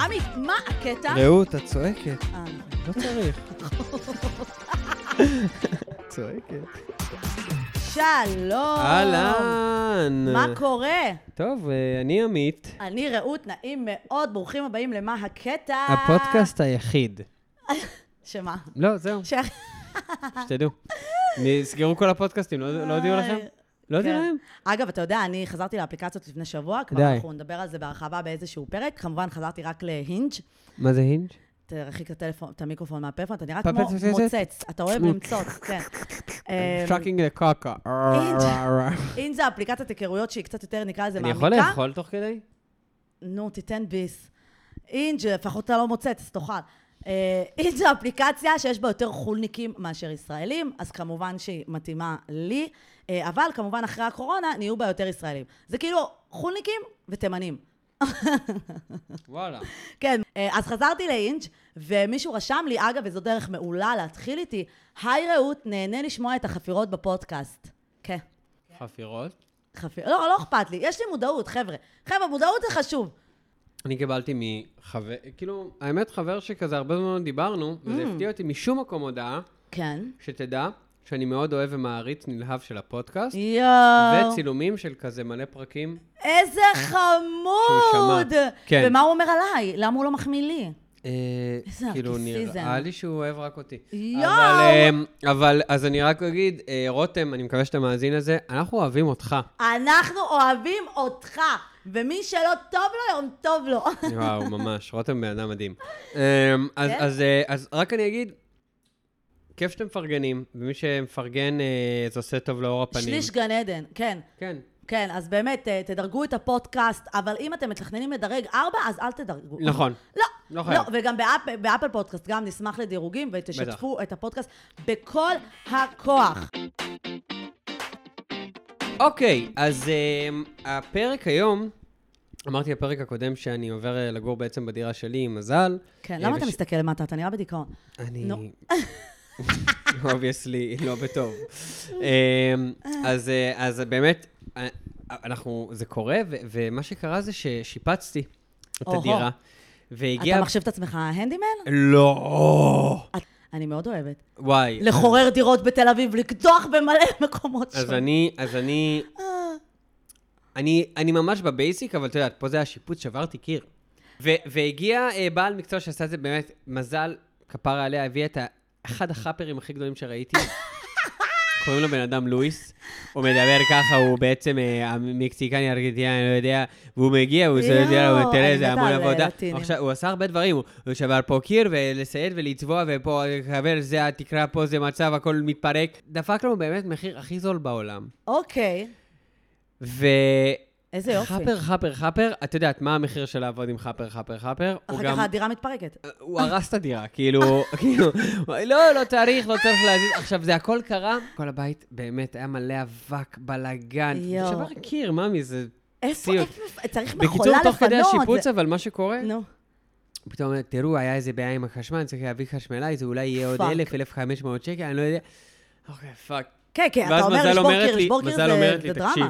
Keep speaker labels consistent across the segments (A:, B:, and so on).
A: עמי, מה הקטע?
B: רעות, את צועקת.
A: אה, נכון.
B: לא צריך. צועקת.
A: שלום.
B: אהלן.
A: מה קורה?
B: טוב, אה, אני עמית.
A: אני רעות, נעים מאוד, ברוכים הבאים למה הקטע.
B: הפודקאסט היחיד.
A: שמה?
B: לא, זהו,
A: ש...
B: שתדעו. נסגרו כל הפודקאסטים, לא לא הודיעו לכם? לא הודיעו
A: כן.
B: להם?
A: אגב, אתה יודע, אני חזרתי לאפליקציות לפני שבוע, כבר
B: די.
A: אנחנו נדבר על זה בהרחבה באיזשהו פרק. כמובן, חזרתי רק להינג'.
B: מה זה הינג'?
A: תרחיק את הטלפון- את המיקרופון מהפלאפון, אתה נראה
B: פאפ-
A: כמו
B: פאפ- פאפ-
A: מוצץ. אתה אוהב למצוץ, כן. אמ,
B: טראקינג לקקה.
A: אם זה אפליקציית היכרויות שהיא קצת יותר, נקרא לזה,
B: אני
A: מעמיקה.
B: יכול לאכול תוך כדי?
A: נו, תיתן ביס. אינג' לפחות אתה לא מוצץ, אז תאכל. אה, אינג' זו אפליקציה שיש בה יותר חולניקים מאשר ישראלים, אז כמובן שהיא מתאימה לי, אה, אבל כמובן אחרי הקורונה נהיו בה יותר ישראלים. זה כאילו חולניקים ותימנים.
B: וואלה.
A: כן, אה, אז חזרתי לאינג' ומישהו רשם לי, אגב, וזו דרך מעולה להתחיל איתי, היי רעות, נהנה לשמוע את החפירות בפודקאסט. כן.
B: חפירות?
A: חפיר... לא, לא אכפת לי, יש לי מודעות, חבר'ה. חבר'ה, מודעות זה חשוב.
B: אני קיבלתי מחבר, כאילו, האמת חבר שכזה הרבה זמן לא דיברנו, וזה הפתיע אותי משום מקום הודעה,
A: כן.
B: שתדע שאני מאוד אוהב ומעריץ נלהב של הפודקאסט,
A: יואו.
B: וצילומים של כזה מלא פרקים.
A: איזה חמוד!
B: כן.
A: ומה הוא אומר עליי? למה הוא לא מחמיא לי?
B: אה,
A: איזה
B: כאילו,
A: נרקיסיזם.
B: נראה לי שהוא אוהב רק אותי.
A: יואו!
B: אבל, אה, אבל, אז אני רק אגיד, אה, רותם, אני מקווה שאתה מאזין לזה, אנחנו אוהבים אותך.
A: אנחנו אוהבים אותך, ומי שלא טוב לו, יום טוב לו.
B: וואו, ממש, רותם בן אדם מדהים. אה, אז-
A: כן?
B: אז אה, אז רק אני אגיד, כיף שאתם מפרגנים, ומי שמפרגן, אה, זה עושה טוב לאור הפנים.
A: שליש גן עדן, כן.
B: כן.
A: כן, אז באמת, אה, תדרגו את הפודקאסט, אבל אם אתם מתכננים לדרג ארבע, אז אל תדרגו.
B: נכון.
A: לא,
B: לא
A: לא,
B: חייב.
A: לא וגם באפ, באפל פודקאסט, גם נשמח לדירוגים, ותשתפו את הפודקאסט בכל הכוח.
B: אוקיי, אז um, הפרק היום, אמרתי בפרק הקודם שאני עובר אה, לגור בעצם בדירה שלי עם מזל.
A: כן,
B: אה,
A: למה אתה
B: וש-
A: מסתכל למטה? אתה נראה בדיכאון.
B: אני...
A: נו.
B: אובייסלי, לא בטוב. um, אז, אה, אז באמת, אה, אנחנו, זה קורה, ו- ומה שקרה זה ששיפצתי את
A: אוהו.
B: הדירה, והגיע...
A: אתה מחשיב את עצמך הנדימן?
B: לא!
A: אני מאוד אוהבת.
B: וואי.
A: לחורר דירות בתל אביב, לקדוח במלא מקומות
B: אז
A: שונים.
B: אני, אז אני...
A: אה.
B: אני, אני ממש בבייסיק, אבל את יודעת, פה זה השיפוץ, שברתי קיר. ו, והגיע אה, בעל מקצוע שעשה את זה באמת, מזל, כפרה עליה, הביא את ה- אחד החאפרים הכי גדולים שראיתי. קוראים לו בן אדם לואיס, הוא מדבר ככה, הוא בעצם אה, מקסיקני, ארגנטיני, אני לא יודע, והוא מגיע, הוא עושה את זה,
A: יואו,
B: הוא נותן
A: לא, אני
B: לזה
A: מתה
B: המון
A: על
B: עבודה.
A: לטינים.
B: עכשיו, הוא עשה הרבה דברים, הוא- הוא שבר פה קיר, ולסייד ולצבוע, ופה, חבר, זה התקרה פה, זה מצב, הכל מתפרק. דפק לנו באמת מחיר הכי זול בעולם.
A: אוקיי,
B: ו...
A: איזה יופי.
B: חאפר, חאפר, חאפר, את יודעת מה המחיר של לעבוד עם חאפר, חאפר, חאפר? הוא
A: אחר
B: גם...
A: כך הדירה מתפרקת.
B: הוא הרס את הדירה, כאילו, כאילו, לא, לא צריך, לא צריך להזיז. עכשיו, זה הכל קרה, כל הבית באמת היה מלא אבק, בלאגן.
A: יואו.
B: שבר קיר, ממי, זה...
A: איפה,
B: סיוט.
A: איפה, צריך מכולה לפנות.
B: בקיצור, תוך כדי השיפוץ,
A: זה-
B: אבל מה שקורה,
A: נו,
B: פתאום אומרת, תראו, היה איזה בעיה עם החשמל, צריך להביא חשמלאי, זה אולי יהיה עוד
A: פאק.
B: 1,000, 1,500 שקל, אני לא יודע. אוקיי, פאק.
A: כן, כן,
B: ואז
A: אתה אומר
B: מזל
A: לשבור
B: אומרת
A: קיר,
B: לי-
A: לשבור קיר
B: מזל
A: זה-
B: אומרת לי,
A: זה דרמה.
B: "תקשיב,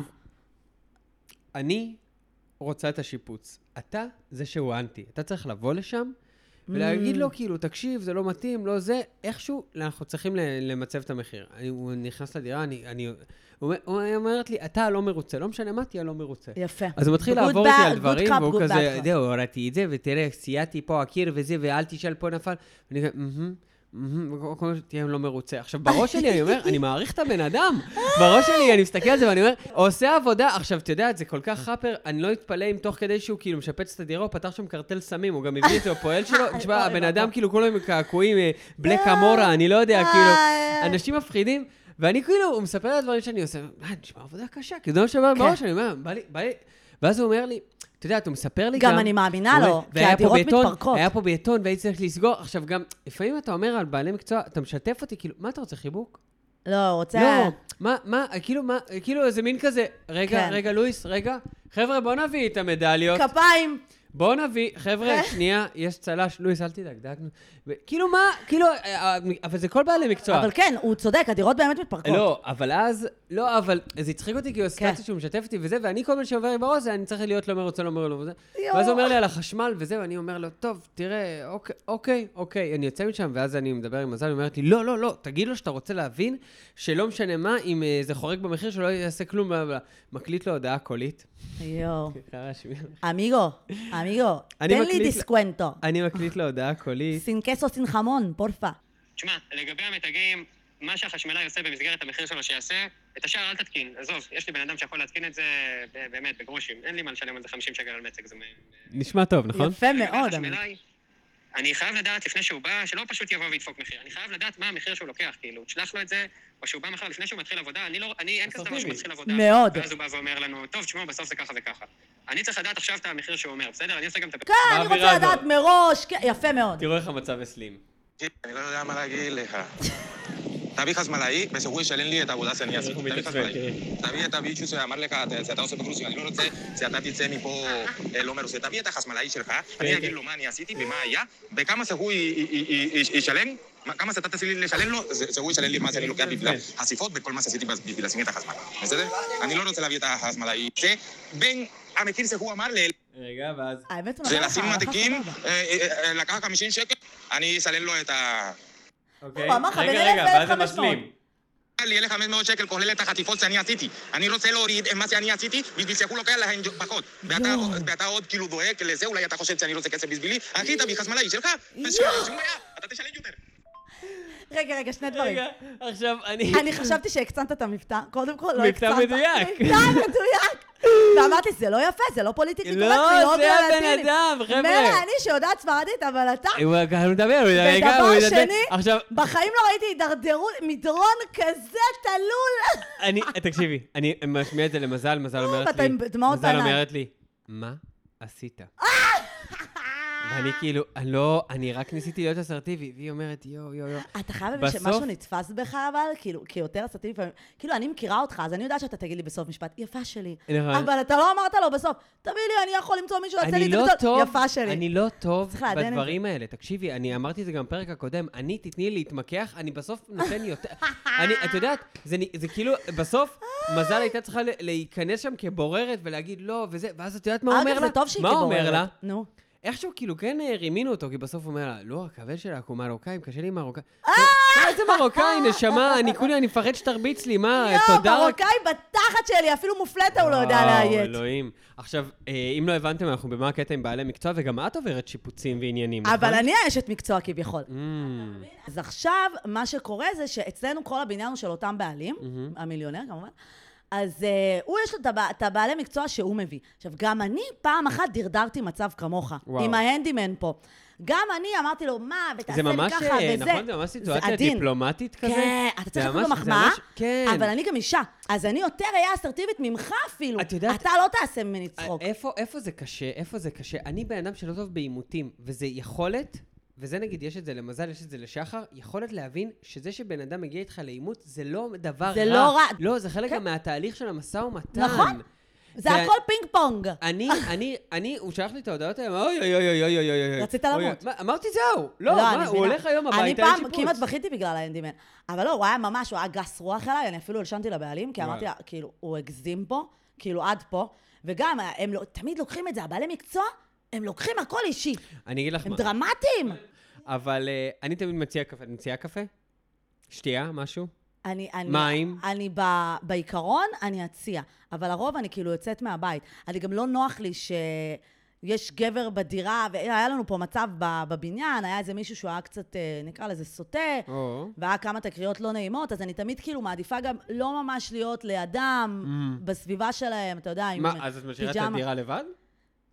B: אני רוצה את השיפוץ. אתה זה שהוא אנטי. אתה צריך לבוא לשם ולהגיד לו, כאילו, תקשיב, זה לא מתאים, לא זה. איכשהו, אנחנו צריכים ל- למצב את המחיר. אני, הוא נכנס לדירה, אני... אני הוא, אומר- היא אומרת לי, אתה לא מרוצה. לא משנה מה, תהיה לא מרוצה.
A: יפה.
B: אז הוא מתחיל
A: כן. Good
B: לעבור איתי
A: bad-
B: על
A: good
B: דברים,
A: cup,
B: והוא
A: good
B: כזה,
A: bad cup.
B: זהו, הורדתי את זה, ותראה, סייעתי פה הקיר וזה, ואל תשאל פה נפל. ואני כזה, "מהמם, מהמם", וכל- כל הזמן תהיה לא מרוצה. עכשיו, בראש שלי אני אומר, אני מעריך את הבן אדם. בראש שלי אני מסתכל על זה ואני אומר, עושה עבודה. עכשיו, אתה יודע, זה כל כך חאפר, אני לא אתפלא אם תוך כדי שהוא כאילו משפץ את הדירה, הוא פתח שם קרטל סמים, הוא גם הביא את זה, הפועל שלו. תשמע,
A: אוי, אה,
B: הבן
A: ואבוי.
B: אדם כאילו כולו עם קעקועים, אה, בלק אמורה, אני לא יודע,
A: איי.
B: כאילו, אנשים מפחידים. ואני כאילו, הוא מספר על הדברים שאני עושה, אה, נשמע עבודה קשה, כי זה מה שבא
A: כן.
B: בראש, אני אומר, בא לי, בא לי, ואז הוא אומר לי, אתה יודע, אתה מספר לי גם...
A: גם אני מאמינה
B: הוא
A: לו,
B: אומר,
A: כי
B: "והיה פה
A: הדירות
B: בעיתון,
A: מתפרקות."
B: היה פה בעיתון והייתי צריך לסגור. עכשיו גם, לפעמים אתה אומר על בעלי מקצוע, אתה משתף אותי, כאילו, מה אתה רוצה, חיבוק?
A: לא, הוא רוצה...
B: לא, מה, מה, כאילו, מה, כאילו, איזה מין כזה, רגע,
A: כן.
B: רגע, לואיס, רגע, חבר'ה, בוא נביא את המדליות.
A: כפיים.
B: בואו נביא,
A: כן.
B: חבר'ה, שנייה, יש צל"ש, לואיס, אל תדאג, דאגנו. ו- כאילו מה, כאילו, אה, אה, אבל זה כל בעלי מקצוע.
A: אבל כן, הוא צודק, הדירות באמת מתפרקות.
B: לא, אבל אז, לא, אבל זה הצחיק אותי,
A: כן.
B: כי הוא הסטטוס שהוא משתף אותי וזה, ואני כל מה שעובר לי בראש זה, אני צריך להיות לא מרוצה, לא מרוצה, לא מרוצה.
A: יואו.
B: ואז הוא אומר לי על החשמל וזה, ואני אומר לו, טוב, תראה, אוקיי, אוקיי, אוקיי, אני יוצא משם, ואז אני מדבר עם מזל, היא אומרת לי, לא, לא, לא, תגיד לו שאתה רוצה להבין שלא משנה מה, אם אה, זה חורג במחיר, שלא יעשה כלום, בלה, בלה. מקליט לו הודעה קולית.
A: יואו.
B: קרה השמיעה.
A: אמיגו, אמיגו,
B: אני
A: תן לי
B: מקליט ל-
A: דיסקוונטו.
B: אני מקליט לו הודעה קולית.
A: סין קסו, סין חמון, פורפה.
C: תשמע, לגבי המתגים, מה שהחשמלאי עושה במסגרת המחיר שלו שיעשה, את השאר אל תתקין. עזוב, יש לי בן אדם שיכול להתקין את זה ב- באמת בגרושים. אין לי מה לשלם על זה 50 שקל על מצג, זה... מ-
B: נשמע טוב, נכון?
A: יפה
C: לגבי
A: מאוד,
C: החשמלאי,
A: אמיגו.
C: אני חייב לדעת לפני שהוא בא, שלא פשוט יבוא וידפוק מחיר. אני חייב לדעת מה המחיר שהוא לוקח, כאילו, תשלח לו את זה, או שהוא בא מחר לפני שהוא מתחיל עבודה, אני לא, אני, אין כזה דבר שהוא
B: אסרטיבי.
C: מתחיל עבודה.
A: מאוד.
C: ואז הוא בא ואומר לנו, טוב, תשמעו, בסוף זה ככה וככה. אני צריך לדעת עכשיו את המחיר שהוא אומר, בסדר? אני עושה גם את הפ...
A: כן, אני
B: באווירה
A: רוצה לדעת
B: הזאת.
A: מראש, כן, יפה מאוד.
B: תראו איך המצב הסלים.
D: אני לא יודע מה להגיד לך. תביא חשמלאי, בסוף הוא ישלם לי את העבודה שאני אעשה.
B: אנחנו
D: תביא
B: מתעצבן,
D: חשמלאי. תביא את הביצ'ו שאמר לך, "אתה- שאתה עושה בגרושים, אני לא רוצה שאתה תצא מפה אה, לא מרוסה. תביא את החשמלאי שלך, אני אגיד לו מה אני עשיתי ומה היה, וכמה שהוא י- י- י- י- ישלם, מה- כמה שאתה תעשה לי לשלם לו, זה- שהוא ישלם לי מה שאני לוקח בשביל החשיפות וכל מה שעשיתי בשביל לשים את החשמלאי. בסדר? אני לא רוצה להביא את החשמלאי. זה בין המחיר שהוא אמר ל...
B: רגע, ואז...
A: האמת, הוא
D: זה
A: נתן לך
D: לשים
A: הערכה
D: מתיקים,
A: סבבה.
D: אה, אה, אה, לקח 50 שקל, אני אשלם לו את ה...
B: אוקיי.
A: הוא אמר לך, בין
B: רגע,
A: אלף
B: רגע,
A: לאלף
B: ואז הם
A: חמש מאות.
B: מסלים.
D: יהיה לך 500 שקל כולל את החטיפות שאני עשיתי. אני רוצה להוריד את מה שאני עשיתי בשביל שהוא לוקח להן פחות. ואתה-
A: יואו.
D: ואתה עוד כאילו דואג לזה, אולי אתה חושב שאני רוצה כסף בשבילי? אחי, תביא חשמלאי שלך.
A: יואו.
D: ושום- שום בעיה, אתה תשלם יותר.
A: רגע, רגע, שני דברים.
B: רגע, עכשיו אני...
A: אני חשבתי שהקצנת את המבטא, קודם כל לא
B: מבטא
A: הקצנת.
B: מדויק.
A: מבטא מדויק. ואמרתי, זה לא יפה, זה לא פוליטיקלי
B: לא,
A: קורקט, להיות
B: זה הבן
A: ללטינית."
B: אדם, חבר'ה.
A: מילא אני שיודעת ספרדית, אבל אתה...
B: הוא ככה מדבר, הוא רגע, הוא
A: ודבר
B: מדבר.
A: שני,
B: עכשיו,
A: בחיים לא ראיתי הידרדרות, מדרון כזה תלול.
B: אני, תקשיבי, אני משמיע את זה למזל, מזל אומרת
A: ואתה
B: לי,
A: עם דמעות
B: מזל
A: בעיניים.
B: אומרת לי, מה עשית? ואני כאילו, "אני לא, אני רק ניסיתי להיות אסרטיבי, והיא אומרת, יואו, יואו, יואו.
A: אתה חייב להבין
B: בסוף-
A: שמשהו נתפס בך, אבל, כאילו, כיותר סרטים לפעמים. כאילו, אני מכירה אותך, אז אני יודעת שאתה תגיד לי בסוף משפט, יפה שלי.
B: נכון.
A: אבל אתה לא אמרת לו בסוף, תביא לי, אני יכול למצוא מישהו, יעשה לי
B: אני
A: את
B: לא
A: הגדול."
B: טוב,
A: יפה שלי.
B: אני לא טוב
A: צריך לעדן את
B: בדברים האלה. תקשיבי, אני אמרתי את זה גם בפרק הקודם, אני, תתני לי להתמקח, אני בסוף נותן יותר... אני, את יודעת, זה נ- זה כאילו, בסוף, מזל הייתה צריכה ל- להיכנס שם כבוררת ולהגיד לא, וזה, ואז את יודעת מה הוא אומר לה?
A: אגב, זה טוב שהיא
B: מה הוא אומר
A: כבוררת.
B: לה?
A: נו.
B: איכשהו כאילו כן אה, רימינו אותו, כי בסוף הוא אומר לה, לא, הכבד שלך הוא מרוקאי, קשה לי עם מרוקאי.
A: אה!
B: "מה, איזה מרוקאי, נשמה, אני כולי, אני מפחד שתרביץ לי, מה,
A: לא,
B: אה, תודה רק...
A: מרוקאי בתחת שלי, אפילו מופלטה הוא לא יודע לאיית.
B: וואו, אלוהים. עכשיו, אה, אם לא הבנתם, אנחנו במה הקטע עם בעלי מקצוע, וגם את עוברת שיפוצים ועניינים,
A: אבל
B: נכון?
A: אני האשת מקצוע כביכול.
B: Mm,
A: אז עכשיו, מה שקורה זה שאצלנו כל הבניין הוא של אותם בעלים,
B: Mm-hmm.
A: המיליונר כמובן, אז uh, הוא יש לו את הבע- את הבעלי מקצוע שהוא מביא. עכשיו, גם אני פעם אחת דרדרתי מצב כמוך,
B: וואו.
A: עם ההנדימן פה. גם אני אמרתי לו, מה,
B: זה
A: ותעשה לי
B: ממש,
A: ככה,
B: אה,
A: וזה.
B: נכון? זה ממש סיטואציה
A: עדין.
B: דיפלומטית כזה?
A: כן, אתה
B: זה
A: צריך לתת
B: ממש-
A: לו
B: זה
A: מחמאה,
B: ממש- כן.
A: אבל אני גם אישה, אז אני יותר אהיה אסרטיבית ממך אפילו.
B: את יודעת-
A: אתה לא תעשה ממני צחוק.
B: אה, איפה, איפה זה קשה? איפה זה קשה? אני בן אדם שלא טוב בעימותים, וזה יכולת, וזה נגיד, יש את זה למזל, יש את זה לשחר, יכולת להבין שזה שבן אדם מגיע איתך לעימות, זה לא דבר רע.
A: זה לא רע.
B: לא, זה חלק
A: כן.
B: גם מהתהליך של המשא ומתן.
A: נכון. זה
B: אה, זה-
A: הכל פינג פונג.
B: אני, אני, אני, הוא שלח לי את ההודעות האלה, אוי אוי אוי אוי אוי אוי אוי.
A: רצית
B: אוי,
A: למות.
B: מה, אמרתי זהו. לא, מה,
A: אני
B: הוא
A: מבינה.
B: הולך היום הביתה,
A: אני
B: אין
A: פעם
B: שיפוץ.
A: כמעט בכיתי בגלל האנדימן. אבל לא, הוא היה ממש, הוא היה גס רוח אליי, אני אפילו הלשנתי לבעלים, כי
B: וואי.
A: אמרתי לה, כאילו, הוא הגזים פה, כאילו, עד פה. וגם, הם לא- תמיד לוקחים את זה, הבעלי מקצוע, הם לוקחים הכל אישי.
B: אני אגיד לך
A: הם
B: מה,
A: דרמטיים.
B: אבל אה, אני תמיד מציע קפה, את מציעה קפה? שתייה, משהו?
A: אני, אני,
B: מים?
A: אני ב, בעיקרון, אני אציע. אבל לרוב אני כאילו יוצאת מהבית. אני גם לא נוח לי ש... יש גבר בדירה, והיה לנו פה מצב ב- בבניין, היה איזה מישהו שהוא היה קצת, אה, נקרא לזה סוטה,
B: או.
A: והיה כמה תקריות לא נעימות, אז אני תמיד כאילו מעדיפה גם לא ממש להיות לידם, בסביבה שלהם, אתה יודע, עם
B: Mm. מה, אז את משאירה את
A: פיג'מה. אה,
B: הדירה לבד?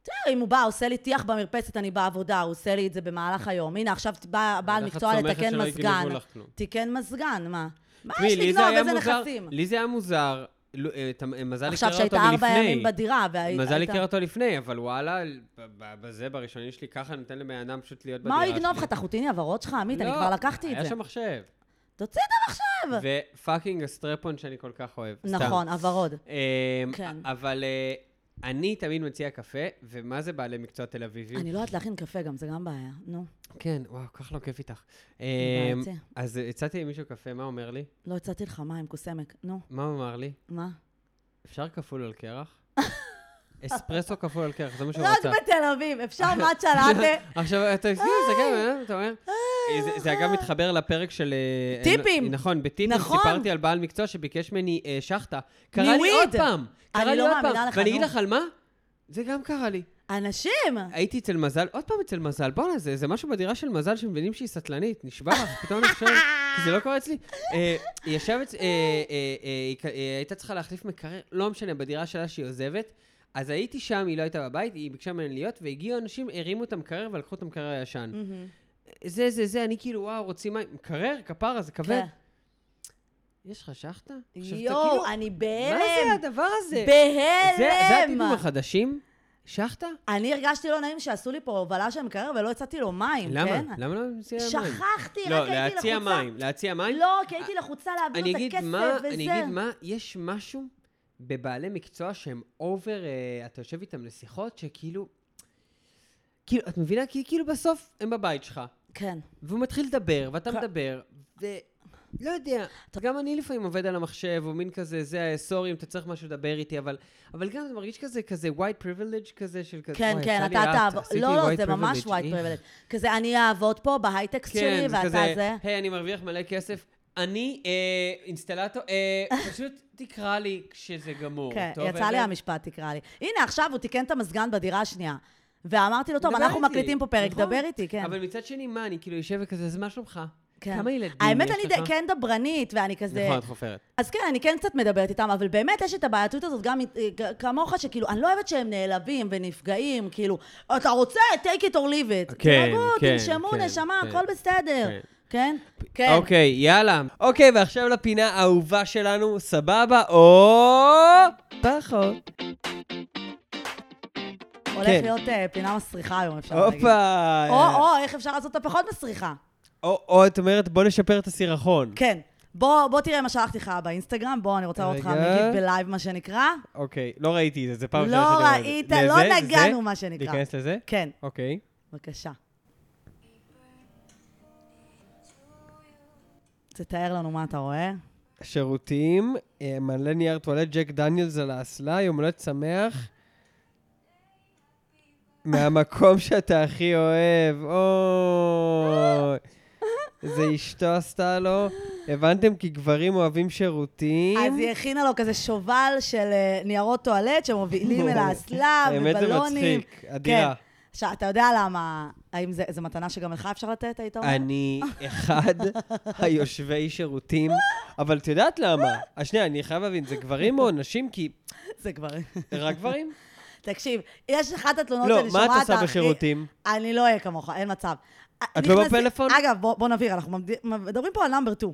A: תראה, אם הוא בא, עושה לי טיח במרפסת, אני בעבודה, הוא עושה לי את זה במהלך היום. הנה, עכשיו בא בעל
B: איך את
A: מקצוע
B: סומכת
A: לתקן
B: שלא
A: מזגן.
B: יגנבו לך כלום?
A: תיקן מזגן, מה? מה
B: תשמעי,
A: יש
B: לי זה
A: לגנוב?
B: היה
A: איזה
B: מוזר-
A: נכסים?
B: לי זה היה מוזר, לו- אה, ת- אה, מזל
A: עכשיו
B: הכירה אותו
A: שהיית
B: מלפני.
A: ארבע ימים בדירה, והיית...
B: מזל
A: היית-
B: הכיר אותו לפני, אבל וואלה, ב- ב- בזה, בראשונים שלי, ככה נותן לבן אדם פשוט להיות בדירה
A: מה הוא יגנוב
B: שלי.
A: לך? את החוטים הוורוד שלך, עמית? אני
B: לא,
A: כבר לקחתי את
B: היה
A: זה.
B: שם מחשב.
A: תוציא את המחשב!
B: ופאקינג הסטרפון שאני כל כך אוהב. סתם.
A: נכון, הוורוד.
B: אמ,
A: נכון. כן.
B: אבל אה, אני תמיד מציע קפה, ומה זה בעלי מקצוע תל אביבים?
A: אני לא יודעת להכין קפה גם, זה גם בעיה. נו,
B: כן, וואו, כך לא כיף איתך. אמ,
A: בעייתי.
B: אז הצעתי למישהו קפה, מה אומר לי?
A: לא הצעתי לך מים, קוסמק. נו,
B: מה הוא אמר לי?
A: מה?
B: אפשר כפול על קרח? אספרסו כפול על קרח, זה מה שהוא
A: רק
B: רצה.
A: לא, בתל אביב, אפשר מאצ'ה לאטה.
B: עכשיו, אתה מסתכל, אה, אתה אומר, אה, זה- זה אגב מתחבר לפרק של... אה,
A: טיפים.
B: אה, נכון, בטיפים
A: נכון.
B: סיפרתי על בעל מקצוע שביקש ממני אה, שחטה. קרה לי
A: מוויד.
B: עוד פעם.
A: אני
B: קרה לי
A: לא
B: עוד
A: מאמינה
B: פעם.
A: לך,
B: ואני
A: נו.
B: אגיד לך על מה? זה גם קרה לי.
A: אנשים!
B: הייתי אצל מזל, עוד פעם אצל מזל, בואנה, זה, זה משהו בדירה של מזל שמבינים שהיא סטלנית, נשבע לך, פתאום אני חושב, כי זה לא קורה אצלי. אה, היא יושבת, אה, אה, אה, היא כ- אה, הייתה צריכה להחליף מקרר, לא משנה, בדירה שלה שהיא עוזבת, אז הייתי שם, היא לא הייתה בבית, היא ביקשה ממני להיות, והגיעו אנשים, הרימו את המקרר ולקחו את המקרר הישן. זה, זה, זה, אני כאילו, וואו, רוצים מים, מקרר, כפרה, זה כבד.
A: כן.
B: יש לך שחטה? עכשיו, אתה כאילו,
A: יואו, אני
B: מה זה
A: בהלם!
B: הדבר הזה? זה- זה הטיפים
A: בהלם!
B: החדשים? שחטה?
A: אני הרגשתי לא נעים שעשו לי פה הובלה של מקרר ולא הצעתי לו מים,
B: למה?
A: כן?
B: למה לא מציע מים?
A: שכחתי,
B: לא,
A: רק הייתי לחוצה.
B: להציע מים, להציע מים. אה,
A: לא, כי הייתי לחוצה
B: אני
A: להעביר את
B: אגיד
A: הכסף
B: מה,
A: וזה.
B: אני אגיד מה, יש משהו בבעלי מקצוע שהם אובר, אה, אתה יושב איתם לשיחות, שכאילו, כאילו, את מבינה? כי כאילו בסוף הם בבית שלך,
A: כן.
B: והוא מתחיל לדבר, ואתה
A: כן.
B: מדבר, ו... לא יודע, גם אני לפעמים עובד על המחשב, או מין כזה, זה אה, סורי אם אתה צריך משהו לדבר איתי, אבל, אבל גם זה מרגיש כזה, כזה white privilege כזה, של כזה,
A: כן,
B: וואי,
A: כן,
B: יצא לי
A: אתה
B: רע,
A: תעבוד.
B: עשיתי
A: לא, לא,
B: white
A: זה ממש
B: privilege, אה?
A: white
B: איך?
A: privilege. כזה, אני אעבוד פה בהייטקס שלי,
B: כן, זה
A: ואתה
B: כזה,
A: זה.
B: היי, אני מרוויח מלא כסף. אני אה, אינסטלטור, אה, פשוט תקרא לי כשזה גמור.
A: כן,
B: טוב,
A: יצא לי
B: אמת?
A: המשפט, תקרא לי. הנה, עכשיו הוא תיקן את המזגן בדירה השנייה. ואמרתי לו, טוב,
B: דבר
A: אנחנו
B: איתי,
A: מקליטים פה פרק,
B: נכון.
A: דבר איתי, כן.
B: אבל מצד שני, מה, אני כאילו יושב וכזה, אז מה שלומך?
A: כן.
B: כמה ילדים יש לך?
A: האמת, אני די- כן דברנית, ואני כזה...
B: נכון, את חופרת.
A: אז כן, אני כן קצת מדברת איתם, אבל באמת יש את הבעייתיות הזאת גם אה, ג- כמוך, שכאילו, אני לא אוהבת שהם נעלבים ונפגעים, כאילו, אתה רוצה, take it or leave it.
B: כן,
A: תירגעו,
B: כן,
A: תנשמו,
B: כן,
A: נשמה,
B: כן.
A: הכל בסדר. כן? כן.
B: אוקיי, יאללה. אוקיי, ועכשיו לפינה האהובה שלנו, סבבה, או... פחות.
A: הולך
B: כן.
A: להיות אה, פינה מסריחה היום, אפשר להגיד.
B: הופה.
A: או, או, איך אפשר לעשות אותה פחות מסריחה?
B: או, או, את אומרת, בוא נשפר את הסירחון.
A: כן. בוא, בוא תראה מה שלחתי לך באינסטגרם, בוא, אני רוצה לראות אותך
B: רגע.
A: מגיב בלייב, מה שנקרא.
B: אוקיי, לא ראיתי את זה, זה פעם
A: לא
B: ראשונה שאני רואה את זה.
A: ראית, לא
B: לזה,
A: נגענו,
B: זה?
A: מה שנקרא.
B: להיכנס לזה?
A: כן,
B: אוקיי.
A: בבקשה. תתאר לנו מה אתה רואה.
B: שירותים, אה, מלא נייר טואלט, ג'ק דניאלס על האסלה, יום הולדת שמח. מהמקום שאתה הכי אוהב, אוי. זה אשתו עשתה לו. הבנתם כי גברים אוהבים שירותים?
A: אז היא הכינה לו כזה שובל של אה, ניירות טואלט שמובילים אל האסלה ובלונים.
B: האמת זה מצחיק, אדירה.
A: כן. עכשיו, אתה יודע למה, האם זה- זו מתנה שגם לך אפשר לתת, היית אומר?
B: אני אחד היושבי שירותים, אבל את יודעת למה? אז שנייה, אני חייב להבין, זה גברים או נשים? כי
A: זה כבר...
B: רק גברים?
A: תקשיב, יש אחת התלונות
B: לא,
A: שאני
B: מה
A: שומעת...
B: את עושה
A: הכי-
B: בשירותים?
A: אני לא אהיה כמוך, אין מצב.
B: את לא
A: נכנסים-
B: בפלאפון?
A: אגב, בוא בוא נבהיר, אנחנו ממד- מדברים פה על נאמבר 2,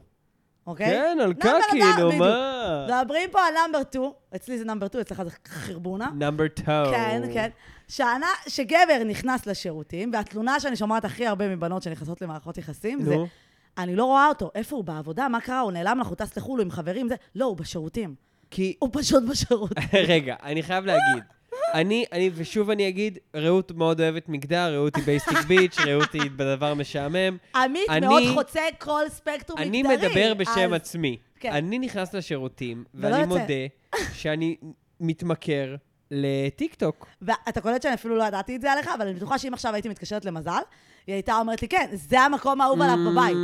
A: אוקיי?
B: כן, על
A: נאמבר
B: קקי,
A: אדם,
B: נו
A: בדיוק. לא,
B: מה?
A: מדברים פה על נאמבר 2, אצלי זה נאמבר 2, אצלך זה חרבונה.
B: נאמבר טו.
A: כן, כן. שענה, שגבר נכנס לשירותים, והתלונה שאני שומעת הכי הרבה מבנות שנכנסות למערכות יחסים, זה,
B: נו.
A: אני לא רואה אותו, איפה הוא בעבודה, מה קרה, הוא נעלם לך, הוא טס לחו"ל, הוא עם חברים, זה, לא, הוא בשירותים.
B: כי...
A: הוא פשוט בשירותים.
B: רגע, אני חייב להגיד. אני, אני, ושוב אני אגיד, רעות מאוד אוהבת מגדר, רעות היא בייסטיק ביץ', רעות היא בדבר משעמם.
A: עמית
B: אני-
A: מאוד חוצה כל ספקטרום
B: אני
A: מגדרי.
B: מדבר בשם
A: אז-
B: עצמי.
A: כן.
B: אני נכנס לשירותים,
A: ולא
B: ואני
A: יוצא.
B: מודה שאני מתמכר לטיקטוק.
A: ואתה קולט שאני אפילו לא ידעתי את זה עליך, אבל אני בטוחה שאם עכשיו הייתי מתקשרת למזל, היא הייתה אומרת לי, כן, זה המקום האהוב עליו
B: Mm.
A: בבית.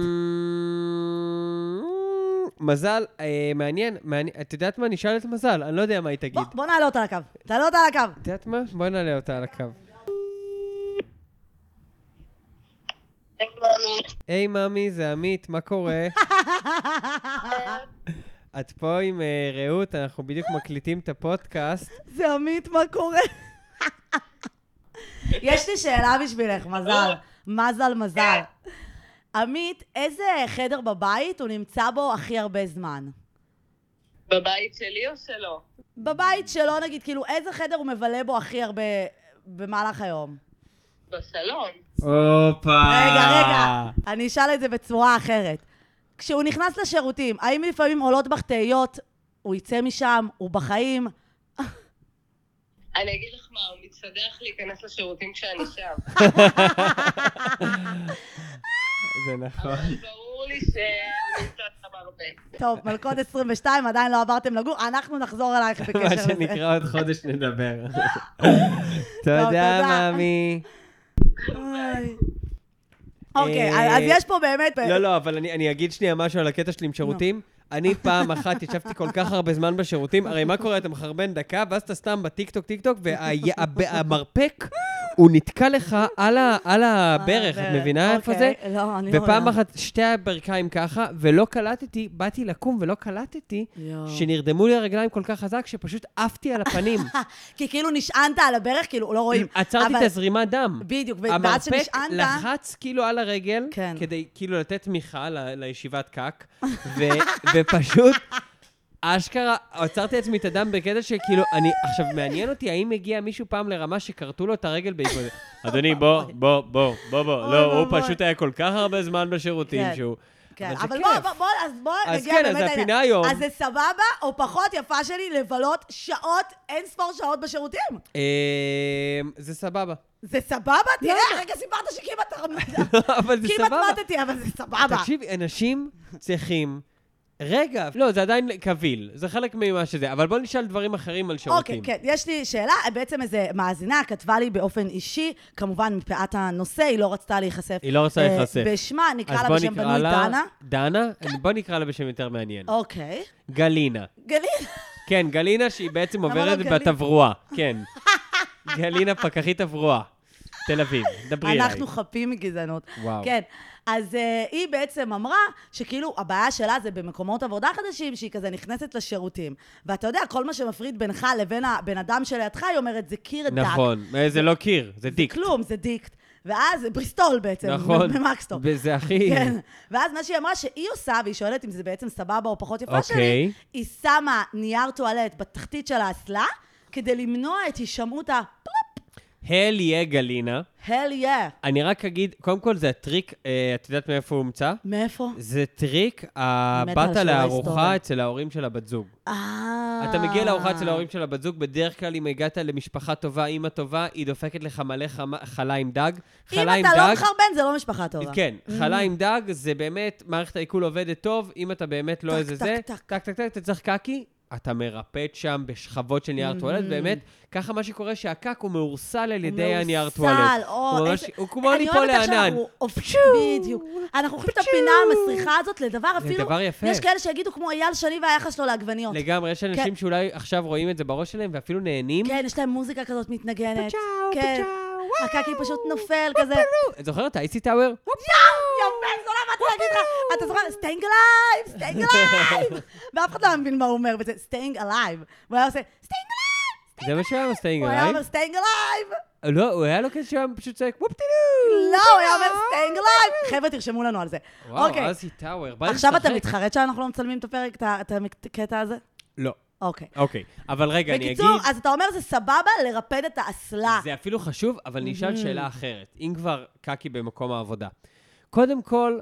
B: מזל, אה, מעניין, מעניין, את יודעת מה? נשאל את מזל, אני לא יודע מה היא תגיד.
A: בוא, בוא נעלה אותה לקו. תעלה אותה לקו.
B: את יודעת מה? בואי נעלה אותה על הקו. היי מאמי, זה עמית, מה קורה? את פה עם אה, רעות, אנחנו בדיוק מקליטים את הפודקאסט.
A: זה עמית, מה קורה? יש לי שאלה בשבילך, מזל. מזל, מזל. עמית, איזה חדר בבית הוא נמצא בו הכי הרבה זמן?
E: בבית שלי או שלו?
A: בבית שלו, נגיד, כאילו, איזה חדר הוא מבלה בו הכי הרבה במהלך היום?
E: בסלון.
B: הופה.
A: רגע, רגע, אני אשאל את זה בצורה אחרת. כשהוא נכנס לשירותים, האם לפעמים עולות בך תהיות, הוא יצא משם, הוא בחיים?
E: אני אגיד לך מה, הוא מתסדח להיכנס לשירותים כשאני שם.
B: זה נכון.
E: אבל ברור לי שהוא נמצא שם הרבה.
A: טוב, מלכוד 22, עדיין לא עברתם לגור, אנחנו נחזור אלייך בקשר
B: מה
A: לזה.
B: שנקרא עוד חודש נדבר. תודה,
A: תודה.
B: מאמי.
A: אוי. אוקיי,
B: אה,
A: אז יש פה באמת...
B: לא, לא, אבל אני, אני אגיד שנייה משהו על הקטע שלי עם שירותים. אני פעם אחת ישבתי כל כך הרבה זמן בשירותים, הרי מה קורה? אתה מחרבן דקה, ואז אתה סתם בטיקטוק טיקטוק, והמרפק, הוא נתקע לך על, ה, על הברך, את מבינה איפה זה?
A: אוקיי, לא, אני לא...
B: ופעם
A: יודעת.
B: אחת שתי הברכיים ככה, ולא קלטתי, באתי לקום ולא קלטתי,
A: יואו.
B: שנרדמו לי הרגליים כל כך חזק, שפשוט עפתי על הפנים.
A: כי כאילו נשענת על הברך, כאילו, לא רואים.
B: עצרתי את
A: אבל-
B: הזרימת דם.
A: בדיוק, ו- ואז
B: המרפק
A: שנשענת...
B: לחץ כאילו על הרגל,
A: כן.
B: כדי כאילו לתת תמיכה ל- לישיבת קאק, ו- ופשוט, אשכרה, עצרתי לעצמי את הדם בקטע שכאילו, אני, עכשיו, מעניין אותי האם הגיע מישהו פעם לרמה שכרתו לו את הרגל בעקבות זה. אדוני, בוא, בוא, בוא, בוא, בוא.
A: אוי,
B: לא, הוא
A: אוי, אוי.
B: פשוט היה כל כך הרבה זמן בשירותים
A: כן.
B: שהוא...
A: כן,
B: אבל זה
A: אבל
B: כיף.
A: בוא, בוא, בוא, אז בוא
B: אז
A: נגיע
B: כן,
A: באמת...
B: אז
A: לעניין.
B: הפינה היום.
A: אז זה סבבה, או פחות יפה שלי לבלות שעות, אין ספור שעות בשירותים.
B: אמ, זה סבבה.
A: זה סבבה?
B: לא,
A: תראה, הרגע סיפרת שכמעט...
B: אבל זה
A: כמעט
B: סבבה.
A: מתתי, אבל זה סבבה.
B: תקשיב, אנשים צריכים... רגע, לא, זה עדיין קביל, זה חלק ממה שזה, אבל בוא נשאל דברים אחרים על שירותים.
A: אוקיי, כן, יש לי שאלה, בעצם איזה מאזינה כתבה לי באופן אישי, כמובן מפאת הנושא, היא לא רצתה להיחשף.
B: היא לא רצתה
A: אה,
B: להיחשף.
A: בשמה, נקרא
B: אז
A: לה
B: בוא
A: בשם
B: נקרא
A: בנוי
B: לה...
A: דנה.
B: דנה? בוא נקרא לה בשם יותר מעניין.
A: אוקיי.
B: גלינה.
A: גליל,
B: כן, גלינה שהיא בעצם
A: למה לא
B: עוברת
A: גליל?
B: בתברואה, כן. גלינה פקחית תברואה. תל אביב, דברי אליי.
A: אנחנו חפים מגזענות.
B: וואו.
A: כן. אז uh, היא בעצם אמרה שכאילו הבעיה שלה זה במקומות עבודה חדשים, שהיא כזה נכנסת לשירותים. ואתה יודע, כל מה שמפריד בינך לבין הבן אדם שלידך, היא אומרת, זה קיר דק.
B: נכון, אה, זה לא קיר, זה דיק.
A: כלום, זה דיקט. ואז, בריסטול בעצם,
B: נכון.
A: ממקסטופ.
B: וזה הכי...
A: כן. ואז מה שהיא אמרה שהיא עושה, והיא שואלת אם זה בעצם סבבה או פחות יפה
B: אוקיי.
A: שלי, היא שמה נייר טואלט בתחתית של האסלה, כדי למנוע את הישמעות ה...
B: הל יהיה גלינה.
A: הל יא.
B: אני רק אגיד, קודם כל זה הטריק, אה, את יודעת מאיפה הוא הומצא?
A: מאיפה?
B: זה טריק, הבת
A: שיעורי
B: לארוחה
A: היסטוריה.
B: אצל ההורים של הבת זוג.
A: אה...
B: אתה מגיע לארוחה אצל ההורים של הבת זוג, בדרך כלל אם הגעת למשפחה טובה, אימא טובה, היא דופקת לך מלא חמה- חלה עם דג. חלה
A: אם
B: עם
A: אתה לא
B: דג,
A: מחרבן, זה לא משפחה טובה.
B: כן, חלה עם דג זה באמת, מערכת העיכול עובדת טוב, אם אתה באמת לא
A: טק,
B: איזה
A: טק,
B: זה,
A: טק.
B: טק, טק, טק, אתה צריך קקי, אתה מרפט שם בשכבות של נייר
A: Mm-hmm.
B: טואלט, באמת, ככה מה שקורה שהקק הוא מאורסל על
A: הוא
B: ידי הנייר
A: מאוסל,
B: טואלט.
A: או,
B: הוא ממש-
A: לא, איזה-
B: הוא כמו
A: אני
B: ליפול
A: אוהבת איך
B: לענן.
A: שאנחנו הופכים- בדיוק. אנחנו הולכים את הפינה המסריחה הזאת לדבר אפילו...
B: לדבר יפה.
A: יש כאלה שיגידו כמו אייל שני והיחס שלו לעגבניות.
B: לגמרי, יש אנשים
A: כן.
B: שאולי עכשיו רואים את זה בראש שלהם ואפילו נהנים.
A: כן, יש להם מוזיקה כזאת מתנגנת.
B: פצ'או,
A: כן.
B: פצ'או,
A: הקקי פשוט נופל כזה.
B: את זוכרת את האייסי טאוור?
A: יפה, זולה, מה אתה להגיד לך? אתה זוכר? סטיינג אלייב, סטיינג אלייב. ואף אחד לא היה מבין מה הוא אומר בזה, סטיינג אלייב. הוא היה עושה, סטיינג
B: זה מה שהיה מסטיינג
A: אלייב. הוא היה
B: עליי.
A: אומר, סטיינג אלייב.
B: לא, הוא היה לו כזה שהוא היה פשוט צועק וופ טידו.
A: לא, הוא היה אומר, סטיינג אלייב. חבר'ה, תרשמו לנו על זה.
B: וואו,
A: אוקיי.
B: אייסי טאוור, בא
A: עכשיו אתה
B: לשחק.
A: מתחרט שאנחנו לא מצלמים את הפרק, את ה- את הקטע הזה?
B: לא,
A: אוקיי.
B: אוקיי. אבל רגע, אני אגיד...
A: בקיצור, אז אתה אומר, זה סבבה לרפד את האסלה.
B: זה אפילו חשוב, אבל
A: Mm-hmm.
B: נשאל שאלה אחרת. אם כבר קקי במקום העבודה. קודם כל,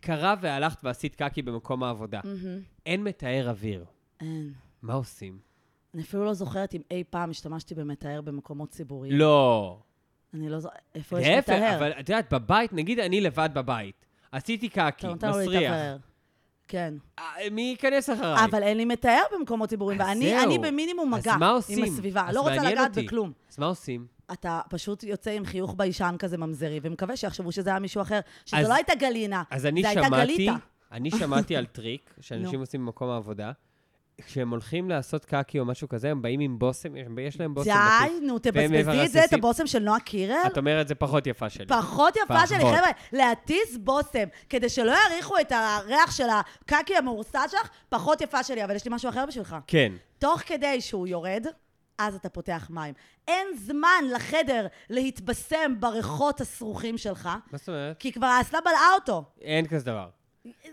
B: קרה והלכת ועשית קקי במקום
A: Mm.
B: העבודה. אין מתאר אוויר.
A: אין.
B: מה עושים?
A: אני אפילו לא זוכרת אם אי פעם השתמשתי במטהר במקומות ציבוריים.
B: לא.
A: אני לא זוכרת, איפה יש
B: להפך,
A: מטהר?
B: אבל את יודעת, בבית, נגיד אני לבד בבית. עשיתי קקי,
A: אתה נותן לו
B: מסריח.
A: להתאפר. כן.
B: אה, מי ייכנס אחריי?
A: אבל אין לי מטהר במקומות ציבוריים,
B: אז
A: ואני
B: זהו.
A: אני במינימום
B: אז
A: מגע
B: מה עושים?
A: עם הסביבה.
B: אז
A: לא רוצה
B: מעניין
A: לגעת
B: אותי.
A: בכלום.
B: אז מה עושים?
A: אתה פשוט יוצא עם חיוך ביישן כזה ממזרי, ומקווה שיחשבו שזה היה מישהו אחר,
B: אז-
A: שזה לא הייתה גלינה,
B: אז אני
A: זה הייתה
B: שמעתי,
A: גליטה.
B: אני שמעתי על טריק
A: נו.
B: שאנשים עושים במקום העבודה. כשהם הולכים לעשות קקי או משהו כזה, הם באים עם בושם, יש- יש להם בושם בתיק.
A: די, נו, תבזבזי את זה, את
B: מברססים.
A: הבושם של נועה קירל?
B: את אומרת, זה פחות יפה שלי.
A: פחות יפה
B: פחות.
A: שלי, חבר'ה, להתיס בושם, כדי שלא יעריכו את הריח של הקקי המאורסה שלך, פחות יפה שלי, אבל יש לי משהו אחר בשבילך.
B: כן.
A: תוך כדי שהוא יורד, אז אתה פותח מים. אין זמן לחדר להתבשם בריחות הסרוכים שלך,
B: מה זאת אומרת?
A: כי כבר האסלה בלעה אותו.
B: אין כזה דבר.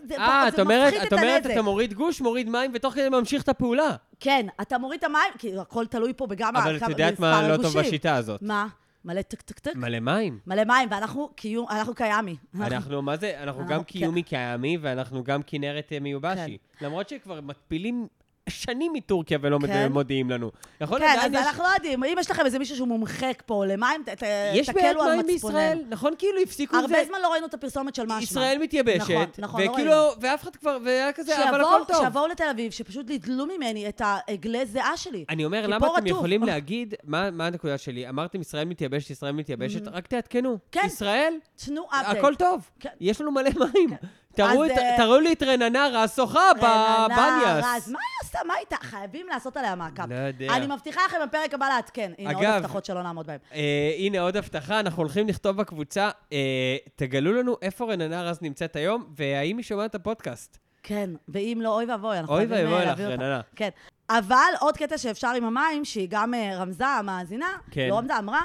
A: זה
B: אה,
A: פחות-
B: את
A: זה
B: אומרת,
A: מפחית
B: את אומרת,
A: הנזק.
B: אתה מוריד גוש, מוריד מים, ותוך כדי ממשיך את הפעולה.
A: כן, אתה מוריד את המים, כי הכל תלוי פה בגם
B: אבל את
A: כמה-
B: יודעת
A: מספר
B: מה לא טוב
A: הגושים.
B: בשיטה הזאת.
A: מה? מלא טק טק טק?
B: מלא מים.
A: מלא מים, ואנחנו קיום, אנחנו כן, קיאמי.
B: אנחנו, מה זה, אנחנו
A: אנחנו- אה,
B: גם
A: כן.
B: קיומי קיאמי, ואנחנו גם כנרת אה, מיובשי. למרות שכבר מתפילים שנים מטורקיה ולא
A: כן.
B: מודיעים לנו. נכון?
A: כן,
B: עדיין
A: אז
B: יש-
A: אנחנו לא יודעים. אם יש לכם איזה מישהו שהוא מומחה פה למים, ת- ת-
B: יש בעיית
A: תקלו על
B: מים
A: מצפוננו.
B: בישראל, נכון? כאילו הפסיקו את זה.
A: הרבה זמן לא ראינו את הפרסומת של משמע.
B: ישראל מתייבשת,
A: נכון, נכון, לא
B: וכאילו,
A: ראינו.
B: ואף אחד כבר, והיה כזה, אבל
A: שיבואו-
B: הכל טוב.
A: שיבואו לתל אביב, שפשוט ידלו ממני את העגלי זיעה שלי.
B: אני אומר,
A: כי
B: למה
A: פה
B: אתם
A: רטוב.
B: יכולים להגיד, מה מה הנקודה שלי? אמרתם ישראל מתייבשת, ישראל מתייבשת, רק תעדכנו.
A: כן.
B: ישראל,
A: תנו אפדט.
B: הכל טוב.
A: כן.
B: יש לנו מלא מים. תראו
A: אז,
B: את-
A: אה,
B: תראו לי את רננה רסוחה בבניאס.
A: אז מה היא עשתה? מה הייתה? חייבים לעשות עליה מעקב.
B: לא יודע.
A: אני מבטיחה לכם בפרק הבא לעדכן. הנה עוד
B: אגב-
A: הבטחות שלא נעמוד בהן.
B: אה, הנה עוד הבטחה, אנחנו הולכים לכתוב בקבוצה, אה, תגלו לנו איפה רננה רז נמצאת היום, והאם היא שומעת את הפודקאסט.
A: כן, ואם לא, אוי ואבוי, אנחנו
B: אוי
A: חייבים אה,
B: ואבוי לך,
A: להביא אותה.
B: רננה.
A: כן. אבל עוד קטע שאפשר עם המים, שהיא גם אה, רמזה, המאזינה,
B: כן.
A: לא רמזה, אמרה,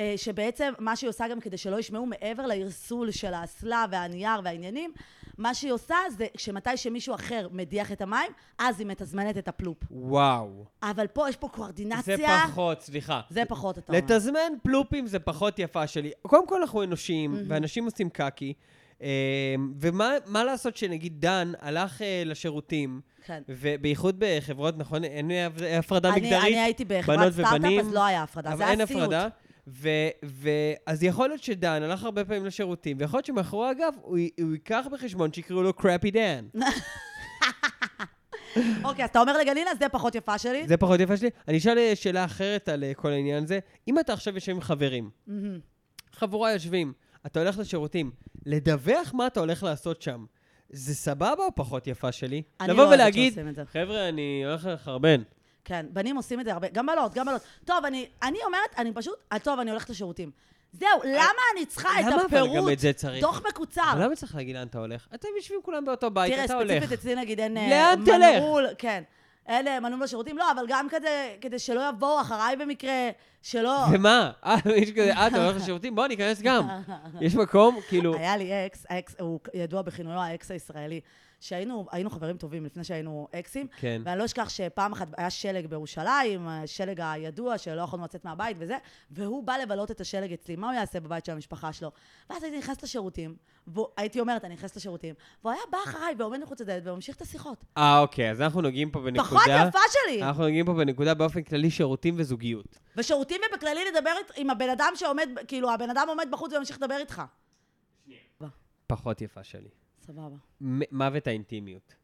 A: אה, שבעצם מה שהיא עושה גם כדי שלא ישמעו מעבר לערסול של האסלה והנייר והעניינים, מה שהיא עושה זה שמתי שמישהו אחר מדיח את המים, אז היא מתזמנת את הפלופ.
B: וואו.
A: אבל פה יש פה
B: זה
A: קואורדינציה.
B: פחות, סליחה.
A: זה פחות, אתה אומר.
B: לתזמן פלופים זה פחות יפה שלי. קודם כל אנחנו אנושיים, ואנשים עושים קקי. אה, ומה מה לעשות שנגיד דן הלך אה, לשירותים,
A: כן.
B: ובייחוד בחברות, נכון, אין הפרדה
A: אני-
B: מגדרית,
A: אני הייתי בחברת
B: בנות
A: סטארט-אפ,
B: ובנים,
A: אז לא היה הפרדה,
B: אבל
A: זה היה
B: אין
A: סיוט.
B: הפרדה. ו, ו, אז יכול להיות שדן הלך הרבה פעמים לשירותים, ויכול להיות שמאחורי הגב הוא, י- הוא ייקח בחשבון שיקראו לו קראפי דן.
A: אוקיי, אז אתה אומר לגלינה, זה פחות יפה שלי?
B: זה פחות יפה שלי. אני אשאל אה, שאלה אחרת על אה, כל העניין הזה. אם אתה עכשיו יושב עם חברים,
A: מהמם.
B: חבורה יושבים, אתה הולך לשירותים, לדווח מה אתה הולך לעשות שם, זה סבבה או פחות יפה שלי?
A: אני לא
B: לבוא
A: אוהבת
B: ולהגיד,
A: שעושים את זה.
B: חבר'ה, אני הולך לחרבן.
A: כן, בנים עושים את זה הרבה, גם בנות, גם בנות. טוב, אני, אני אומרת, אני פשוט, אה, טוב, אני הולכת לשירותים. זהו, למה אני צריכה את
B: אה, למה אבל
A: הפירוט?
B: גם את זה צריך?
A: דוח מקוצר.
B: אבל למה צריך להגיד לאן אתה הולך? אתם יושבים כולם באותו בית,
A: תראה,
B: אתה הולך.
A: ספציפית אצלי נגיד אין... אה,
B: לאן תלך?
A: מנעול, כן. אין אה, מנעול לשירותים, לא, אבל גם כדי, כדי שלא יבואו אחריי במקרה, שלא...
B: ומה? אה, יש כזה, אה, אתה הולך לשירותים? בוא, ניכנס גם. יש מקום, כאילו...
A: היה לי אקס, האקס, הוא ידוע בכינויו האקס הישראלי, שהיינו היינו חברים טובים לפני שהיינו אקסים,
B: כן.
A: ואני לא אשכח שפעם אחת היה שלג בירושלים, השלג הידוע שלא יכולנו לצאת מהבית וזה, והוא בא לבלות את השלג אצלי, מה הוא יעשה בבית של המשפחה שלו? ואז הייתי נכנסת לשירותים, והייתי אומרת, אני נכנסת לשירותים, והוא היה בא אחריי ועומד מחוץ לדלת וממשיך את השיחות.
B: אה, אוקיי, אז אנחנו נוגעים פה בנקודה...
A: פחות יפה שלי!
B: אנחנו נוגעים פה בנקודה באופן כללי שירותים וזוגיות.
A: בשירותים ובכללי לדבר אית- עם הבן אדם שעומד, כאילו, הבן אדם עומד בחוץ וממשיך לדבר איתך.
B: פחות יפה שלי.
A: סבבה.
B: מ- מוות האינטימיות.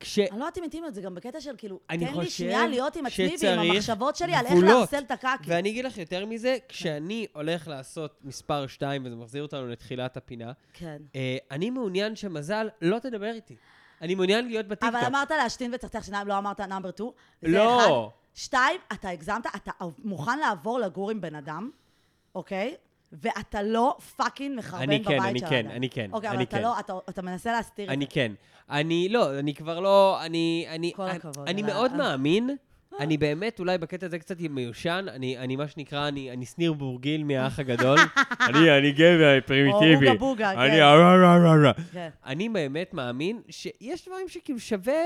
B: כש...
A: אני לא יודעת אם אינטימיות, זה גם בקטע של כאילו,
B: אני
A: תן לי
B: חושב
A: שנייה להיות עם עצמי ועם
B: שצריך
A: המחשבות שלי על איך
B: גבולות.
A: לערסל את הקקי.
B: ואני אגיד לך יותר מזה, כשאני הולך לעשות מספר 2, וזה מחזיר אותנו לתחילת הפינה,
A: כן.
B: אה, אני מעוניין שמזל לא תדבר איתי. אני מעוניין להיות בטיקטוק.
A: אבל אמרת להשתין וצחצח שיניים, לא אמרת נאמבר 2.
B: לא.
A: שתיים, אתה הגזמת, אתה מוכן לעבור לגור עם בן אדם, אוקיי? ואתה לא פאקינג מחרבן
B: אני
A: בבית
B: כן,
A: של האדם.
B: אני כן, אני כן,
A: אוקיי, אבל
B: אני
A: אתה
B: כן.
A: לא, אתה- אתה מנסה להסתיר את
B: אני
A: זה.
B: כן. אני לא, אני כבר לא, אני... אני
A: כל
B: אני-
A: הכבוד, אה.
B: אני
A: אלא-
B: מאוד מאמין. אני באמת, אולי בקטע הזה קצת מיושן, אני, אני מה שנקרא, אני, אני שניר בורגיל מהאח הגדול. אני, אני גבר
A: או אוגה בוגה, כן.
B: אני ארה רה רה רה.
A: כן.
B: אני באמת מאמין שיש דברים שכאילו שווה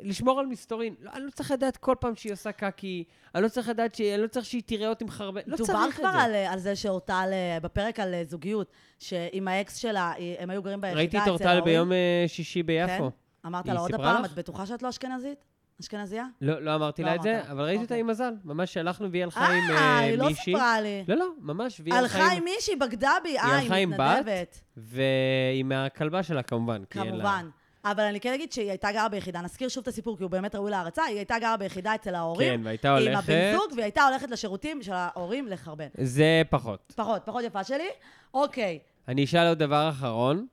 B: לשמור על מסתורין. לא, אני לא צריך לדעת כל פעם שהיא עושה קקי, אני לא צריך לדעת, ש... אני לא צריך שהיא תראה אותי מחרבן, לא צריך את זה.
A: דובר כבר על, על זה שאורטל, אה, בפרק על אה, זוגיות, שעם האקס שלה, היא- הם היו גרים ביחידה
B: ראיתי
A: אה, אצל
B: את
A: ההורים.
B: אורטל ביום אה, שישי ביפו.
A: כן? אמרת
B: היא
A: לה עוד
B: סיפרה
A: הפעם,
B: לך?
A: את בטוחה שאת לא אשכנזית? אשכנזייה?
B: לא, לא אמרתי
A: לא
B: לה את זה,
A: אמרת לה.
B: אבל ראיתי אותה
A: אוקיי.
B: עם מזל. ממש שהלכנו והיא הלכה עם
A: אה,
B: אה,
A: היא לא
B: מישהי.
A: סיפרה לי.
B: לא, לא, ממש, והיא
A: הלכה עם מישהי, בגדה בי, אה,
B: הלכה
A: היא
B: עם בת,
A: מתנדבת.
B: ועם הכלבה שלה כמובן. כי אין לה-
A: כמובן. אבל אני כן אגיד שהיא הייתה גרה ביחידה, נזכיר שוב את הסיפור, כי הוא באמת ראוי להערצה, היא הייתה גרה ביחידה אצל ההורים.
B: כן, והייתה
A: עם
B: הולכת-
A: הבן זוג, והיא הייתה הולכת לשירותים של ההורים לחרבן.
B: זה פחות.
A: פחות, פחות יפה שלי. אוקיי,
B: אני אשאל עוד דבר אחרון.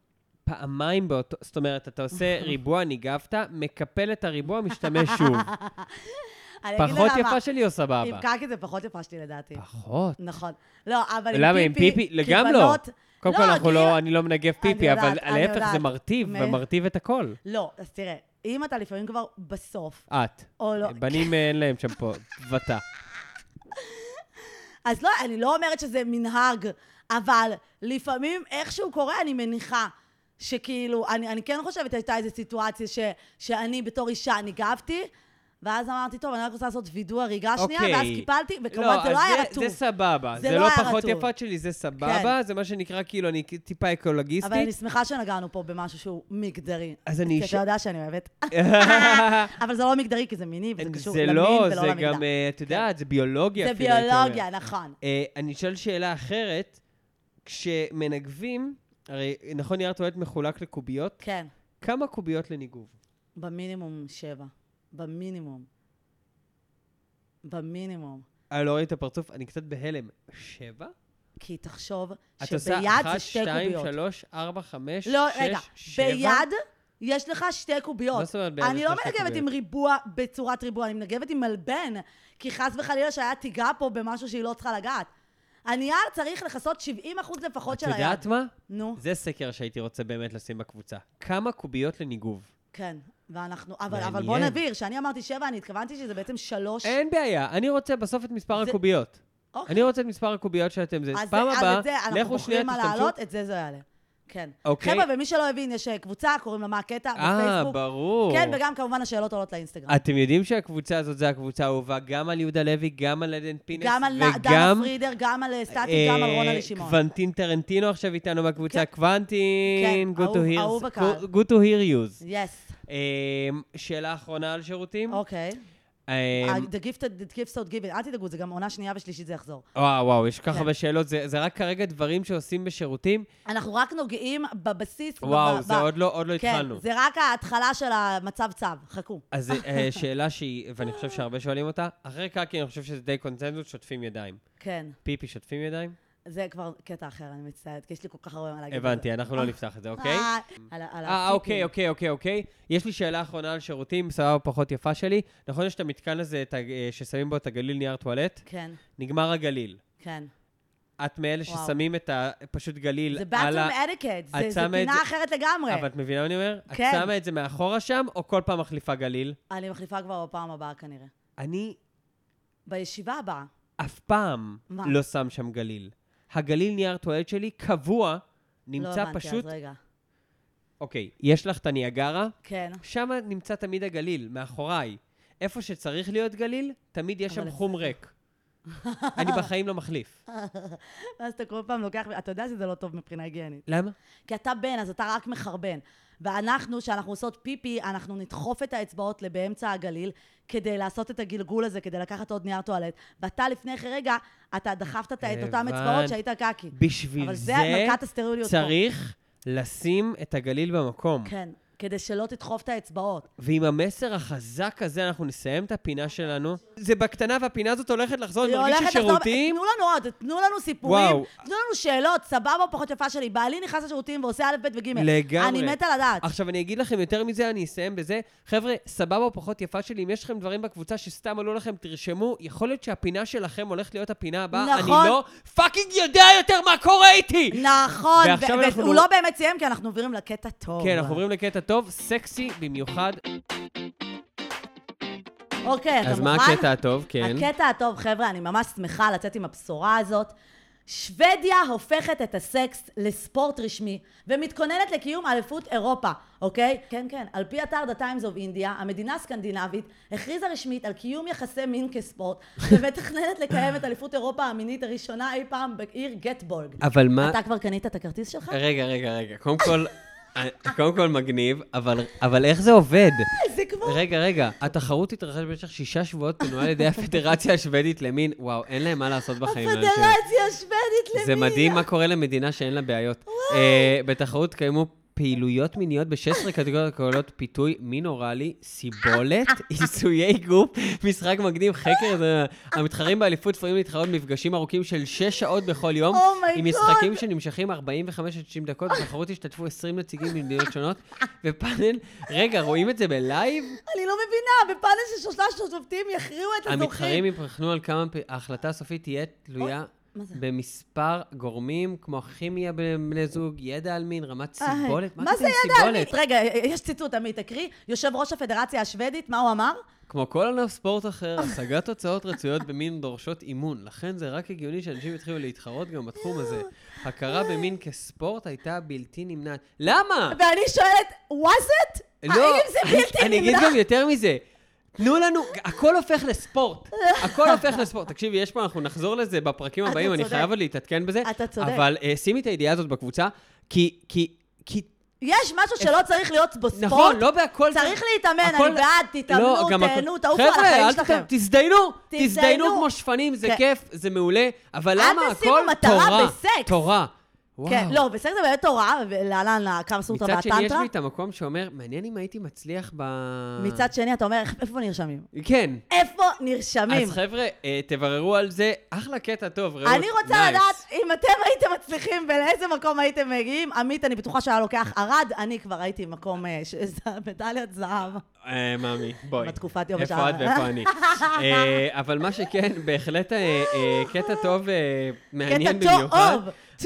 B: פעמיים באותו, זאת אומרת, אתה עושה ריבוע, ניגבת, מקפל את הריבוע, משתמש שוב.
A: אני אגיד
B: פחות
A: לך למה.
B: יפה שלי או
A: עם
B: סבבה?
A: קקי זה פחות יפה שלי לדעתי.
B: פחות.
A: נכון. לא, אבל עם פיפי...
B: למה, עם פיפי?
A: כי
B: לגמרי לא.
A: בנות-
B: קודם כל, אנחנו
A: כי-
B: לא, אני לא מנגב פיפי, אבל
A: יודעת, אני
B: להפך זה
A: יודעת.
B: מרטיב,
A: מ-
B: ומרטיב את הכל.
A: לא, אז תראה, אם אתה לפעמים כבר בסוף,
B: את.
A: או לא...
B: בנים אה, אין להם שם פה, ואתה.
A: אז לא, אני לא אומרת שזה מנהג, אבל לפעמים איכשהו קורה, אני מניחה. שכאילו, אני, אני כן חושבת, הייתה איזו סיטואציה ש, שאני בתור אישה ניגבתי, ואז אמרתי, טוב, אני רק רוצה לעשות וידוא הריגה שנייה,
B: אוקיי.
A: ואז קיפלתי, וכמובן זה
B: אז
A: לא היה רטוב.
B: זה סבבה.
A: זה
B: זה
A: לא
B: לא
A: היה
B: פחות
A: רטוב.
B: יפת שלי, זה סבבה. זה מה שנקרא, כאילו, אני טיפה אקולגיסטית.
A: אבל אני שמחה שנגענו פה במשהו שהוא מגדרי.
B: אז אני
A: כי
B: אש-
A: אתה יודע שאני אוהבת. אבל זה לא מגדרי, כי זה מיני, וזה קשור
B: זה
A: למין
B: לא,
A: ולא
B: זה
A: למידה.
B: גם, אה, את יודעת, זה ביולוגיה
A: זה
B: אפילו, הייתי אומר.
A: ביולוגיה, נכון.
B: אה, אני אשאל שאלה אחרת. כשמנגבים, הרי נכון נייר טואלט מחולק לקוביות,
A: כן,
B: כמה קוביות לניגוב?
A: במינימום שבע. במינימום. במינימום.
B: אה, לא ראיתי את הפרצוף, אני קצת בהלם. שבע?
A: כי תחשוב
B: את
A: שביד
B: עושה
A: זה
B: אחת,
A: שתי
B: שתיים,
A: קוביות.
B: שלוש, ארבע, חמש,
A: לא,
B: שש,
A: רגע,
B: שבע?
A: ביד יש לך שתי קוביות.
B: מה זאת אומרת ביד
A: אני
B: יש
A: לא
B: לך שתי
A: מנגבת עם
B: קוביות?
A: ריבוע בצורת ריבוע, אני מנגבת עם מלבן, כי חס וחלילה שהיה תיגע פה במשהו שהיא לא צריכה לגעת. הנייר צריך לכסות 70 אחוז לפחות
B: את
A: של היד.
B: יודעת מה?
A: נו,
B: זה סקר שהייתי רוצה באמת לשים בקבוצה. כמה קוביות לניגוב?
A: כן, ואנחנו... אבל, אבל
B: מעניין.
A: בוא נבהיר, כשאני אמרתי שבע, אני התכוונתי שזה בעצם שלוש...
B: אין בעיה, אני רוצה בסוף את מספר
A: זה-
B: הקוביות.
A: אוקיי.
B: אני רוצה את מספר הקוביות שאתם זה.
A: אז
B: פעם
A: זה- אז
B: הבאה,
A: את זה אנחנו
B: לכו שנייה
A: בוחרים מה
B: תשתמשו.
A: להעלות, את זה זה יעלה. כן.
B: אוקיי.
A: חבר'ה, ומי שלא הבין, יש אה, קבוצה, קוראים לה מה הקטע,
B: אה,
A: בפייסבוק.
B: ברור.
A: כן, וגם כמובן השאלות עולות לאינסטגרם.
B: אתם יודעים שהקבוצה הזאת זה הקבוצה האהובה גם על יהודה לוי, גם על עדן פינס,
A: גם על נ- דנה
B: וגם...
A: פרידר, גם על אה, סטטי,
B: אה,
A: גם על רונה לשמעון.
B: קוונטין טרנטינו עכשיו איתנו בקבוצה. קוונטין,
A: כן,
B: good to
A: אהוב-
B: hear-
A: אהוב הקהל.
B: good to hear yous.
A: יס,
B: אמ, שאלה אחרונה על שירותים.
A: אוקיי.
B: אמ,
A: אה, The gift that- the gifts out given, אל תדאגו, זה גם עונה שנייה ושלישית זה יחזור.
B: וואו, וואו, יש כל כך
A: כן.
B: הרבה שאלות. זה זה רק כרגע דברים שעושים בשירותים.
A: אנחנו רק נוגעים בבסיס. ב-
B: וואו,
A: ב-
B: זה
A: ב-
B: עוד לא עוד לא התחלנו.
A: כן, זה רק ההתחלה של המצב צו, חכו.
B: אז אה, שאלה שהיא, ואני חושב שהרבה שואלים אותה, אחרי קקי אני חושב שזה די קונצנזוס, שוטפים ידיים.
A: כן,
B: פיפי, שוטפים ידיים?
A: זה כבר קטע אחר, אני מצטערת, כי יש לי כל כך הרבה מה להגיד. על
B: הבנתי,
A: זה.
B: אנחנו לא
A: אה,
B: נפתח את זה, אוקיי?
A: אה, על ה- על
B: אה,
A: הטיפים.
B: אוקיי, אוקיי, אוקיי, אוקיי. יש לי שאלה אחרונה על שירותים, סבבה, פחות יפה שלי. נכון, יש את המתקן הזה את ה- אה, ששמים בו את הגליל נייר טואלט?
A: כן,
B: נגמר הגליל.
A: כן.
B: את מאלה
A: וואו.
B: ששמים את ה... פשוט גליל
A: זה
B: על ה...
A: bathroom etiquette, זה- זה
B: את שמה את
A: פינה
B: זה-
A: אחרת לגמרי.
B: אבל את מבינה מה אני אומר?
A: כן.
B: את שמה את זה מאחורה שם, או כל פעם מחליפה גליל?
A: אני מחליפה כבר בפעם הבאה כנראה.
B: אני
A: בישיבה הבאה.
B: אף פעם
A: מה?
B: לא שם שם גליל. הגליל נייר טואלט שלי קבוע,
A: לא
B: נמצא
A: הבנתי, אז
B: פשוט...
A: רגע.
B: אוקיי, יש לך את הניאגרה,
A: כן.
B: שם נמצא תמיד הגליל, מאחוריי. איפה שצריך להיות גליל, תמיד יש
A: אבל
B: שם חום ריק. אני בחיים לא מחליף.
A: ואז אתה כל פעם לוקח, אתה יודע שזה לא טוב מבחינה היגיינית.
B: למה?
A: כי אתה בן, אז אתה רק מחרבן. ואנחנו, כשאנחנו עושות פיפי, אנחנו נדחוף את האצבעות לבאמצע הגליל, כדי לעשות את הגלגול הזה, כדי לקחת עוד נייר טואלט. ואתה לפני כן רגע, אתה דחפת את את אותן
B: הבנתי.
A: אצבעות שהיית קקי.
B: בשביל
A: אבל זה
B: זה
A: מכת הסטריליות פה.
B: צריך לשים את הגליל במקום.
A: כן, כדי שלא תדחוף את האצבעות.
B: ועם המסר החזק הזה אנחנו נסיים את הפינה שלנו. זה בקטנה והפינה הזאת הולכת לחזור, אני
A: היא
B: מרגיש
A: הולכת לחזור-
B: ששירותים...
A: תנו לנו עוד, תנו לנו סיפורים,
B: וואו.
A: תנו לנו שאלות, סבבה או פחות יפה שלי. בעלי נכנס לשירותים ועושה א', ב' וג'.
B: לגמרי.
A: אני מתה לדעת.
B: עכשיו, אני אגיד לכם יותר מזה, אני אסיים בזה. חבר'ה, סבבה או פחות יפה שלי, אם יש לכם דברים בקבוצה שסתם עלו לכם, תרשמו. יכול להיות שהפינה שלכם הולכת להיות הפינה הבאה.
A: נכון.
B: אני לא פאקינג יודע יותר מה קורה איתי! כן,
A: נכון,
B: ועכשיו
A: ו-
B: אנחנו-
A: והוא לא באמת סיים, כי אנחנו עוברים לקטע טוב.
B: כן, אנחנו עוברים לקטע טוב, סקסי במיוחד.
A: אוקיי, אתה
B: אז
A: מוכן?
B: מה הקטע הטוב? כן.
A: הקטע הטוב, חבר'ה, אני ממש שמחה לצאת עם הבשורה הזאת. שוודיה הופכת את הסקס לספורט רשמי ומתכוננת לקיום אליפות אירופה, אוקיי? כן, כן. על פי אתר The Times of India, המדינה הסקנדינבית הכריזה רשמית על קיום יחסי מין כספורט ומתכננת לקיים את אליפות אירופה המינית הראשונה אי פעם בעיר גטבורג.
B: אבל מה...
A: אתה כבר קנית את הכרטיס שלך?
B: רגע, רגע, רגע. קודם כל... אה, קודם כל מגניב, אבל, אבל איך זה עובד?
A: אה, זה כמו...
B: רגע, רגע, התחרות תתרחש במשך שישה שבועות, תנוהל על ידי הפדרציה השוודית למין, וואו, אין להם מה לעשות בחיים. לאנשים.
A: הפדרציה השוודית למין.
B: זה מדהים מה קורה למדינה שאין לה בעיות. אה, בתחרות קיימו פעילויות מיניות ב-16 קטגוריות הכוללות פיתוי מין אוראלי, סיבולת, עיסויי גוף, משחק מקדים, חקר. זה- המתחרים באליפות צפויים להתחרות במפגשים ארוכים של 6 שעות בכל יום,
A: אומייגוד.
B: עם משחקים שנמשכים 45 עד 60 דקות, בתחרות השתתפו 20 נציגים ממדינות שונות, ופאנל, רגע, רואים את זה בלייב?
A: אני לא מבינה, בפאנל של שלושה שופטים יכריעו את הזוכים.
B: המתחרים יבחנו על כמה... פ- ההחלטה הסופית תהיה תלויה
A: מה זה?
B: במספר גורמים, כמו כימיה בין בני זוג, ידע על מין, רמת
A: אה,
B: סיבולת.
A: מה
B: קטע
A: זה
B: עם
A: ידע
B: סיבולת?
A: עמית? רגע, יש ציטוט, עמית, תקריא. יושב ראש הפדרציה השוודית, מה הוא אמר?
B: כמו כל ענף ספורט אחר, השגת תוצאות רצויות במין דורשות אימון, לכן זה רק הגיוני שאנשים יתחילו להתחרות גם בתחום הזה.
A: אה,
B: הכרה במין כספורט הייתה בלתי נמנעת. למה?
A: ואני שואלת, was it?
B: לא,
A: האם זה
B: אני
A: בלתי
B: אגיד
A: נמנע?
B: גם יותר מזה. תנו לנו, הכל הופך לספורט. הכל הופך לספורט. תקשיבי, יש פה, אנחנו נחזור לזה בפרקים
A: אתה
B: הבאים, אני
A: צודק.
B: חייב עוד להתעדכן בזה.
A: אתה צודק.
B: אבל אה, שימי את הידיעה הזאת בקבוצה, כי... כי... כי...
A: יש משהו שלא צריך להיות בו ספורט?
B: נכון, לא בהכל...
A: צריך להתאמן,
B: הכל-
A: אני בעד,
B: לא, גם
A: תתאמנו,
B: הכ-
A: תהנו, תעופו על החיים
B: חבר'ה,
A: שלכם.
B: אל ת- תזדיינו,
A: תזדיינו.
B: תזדיינו כמו שפנים, זה
A: כן.
B: כיף, זה מעולה, אבל
A: אל
B: למה
A: תשימו
B: הכל
A: מטרה
B: תורה,
A: בסקס.
B: תורה.
A: כן,
B: וואו.
A: לא, בסדר, זה באמת תורה, ולהלן הקו סוטרה
B: מצד שני, יש
A: והטנטרה.
B: לי את המקום שאומר, מעניין אם הייתי מצליח ב...
A: מצד שני, אתה אומר, "איך- איפה נרשמים?
B: כן.
A: איפה נרשמים?
B: אז חבר'ה, אה, תבררו על זה, אחלה קטע טוב, רעות.
A: אני רוצה
B: נייס.
A: לדעת אם אתם הייתם מצליחים ולאיזה מקום הייתם מגיעים. עמית, אני בטוחה שהיה לוקח ערד, אני כבר הייתי מקום אה, ש- מדליית זהב.
B: אה, מאמי, בואי.
A: בתקופת יום
B: איפה
A: השעה.
B: את ואיפה אני. אה, אבל מה שכן, בהחלט אה, אה, קטע טוב, אה,
A: קטע
B: מעניין במיוחד.
A: טוב,
B: אז,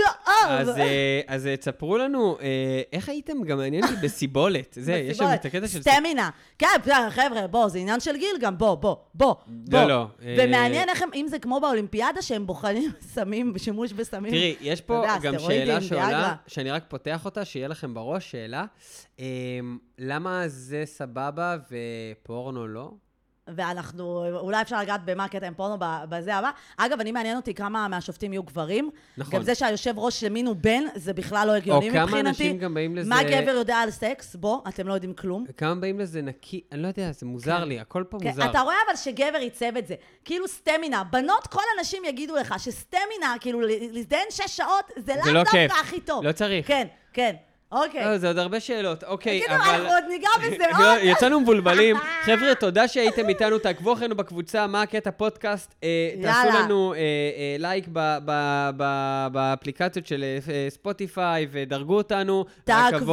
A: טוב.
B: אה, אז אה, תספרו לנו, אה, איך הייתם גם מעניין אותי בסיבולת? זה, יש שם את הקטע של...
A: סטמינה. כן, בסדר, חבר'ה, בוא, זה עניין של גיל גם, בוא, בוא, בוא. בוא.
B: לא, לא. אה,
A: ומעניין איך הם, אם זה כמו באולימפיאדה, שהם בוחנים סמים, שימוש בסמים.
B: תראי, יש פה
A: אתה יודע,
B: גם
A: סטרואידים,
B: שאלה
A: ויאגרה.
B: שעולה, שאני רק פותח אותה, שיהיה לכם בראש, שאלה. אמ, למה זה סבבה ופורנו לא?
A: ואנחנו, אולי אפשר לגעת במה הקטע עם פורנו ב- בזה הבא. אגב, אני מעניין אותי כמה מהשופטים יהיו גברים.
B: נכון.
A: גם זה שהיושב ראש ימין הוא בן, זה בכלל לא
B: או
A: הגיוני מבחינתי.
B: כמה אנשים גם באים לזה...
A: מה גבר יודע על סקס? בוא, אתם לא יודעים כלום.
B: כמה באים לזה נקי? אני לא יודע, זה מוזר לי, הכל פה
A: כן,
B: מוזר.
A: אתה רואה אבל שגבר עיצב את זה. כאילו סטמינה, בנות, כל הנשים יגידו לך שסטמינה, כאילו ל- להזדיין שש שעות, זה
B: זה
A: לאו
B: לא
A: דווקא
B: כיף.
A: הכי טוב.
B: לא צריך.
A: כן, כן. אוקיי.
B: לא, זה עוד הרבה שאלות, אוקיי,
A: תגידו,
B: אבל...
A: אנחנו עוד ניגע בזה
B: לא,
A: עוד.
B: יצאנו מבולבלים. חבר'ה, תודה שהייתם איתנו, תעקבו אחרינו בקבוצה, מה הקטע פודקאסט. אה, תעשו
A: יאללה.
B: לנו אה, אה, לייק ב- ב- ב- באפליקציות של אה, אה, ספוטיפיי ודרגו אותנו.
A: תעקבו.
B: הכבוד-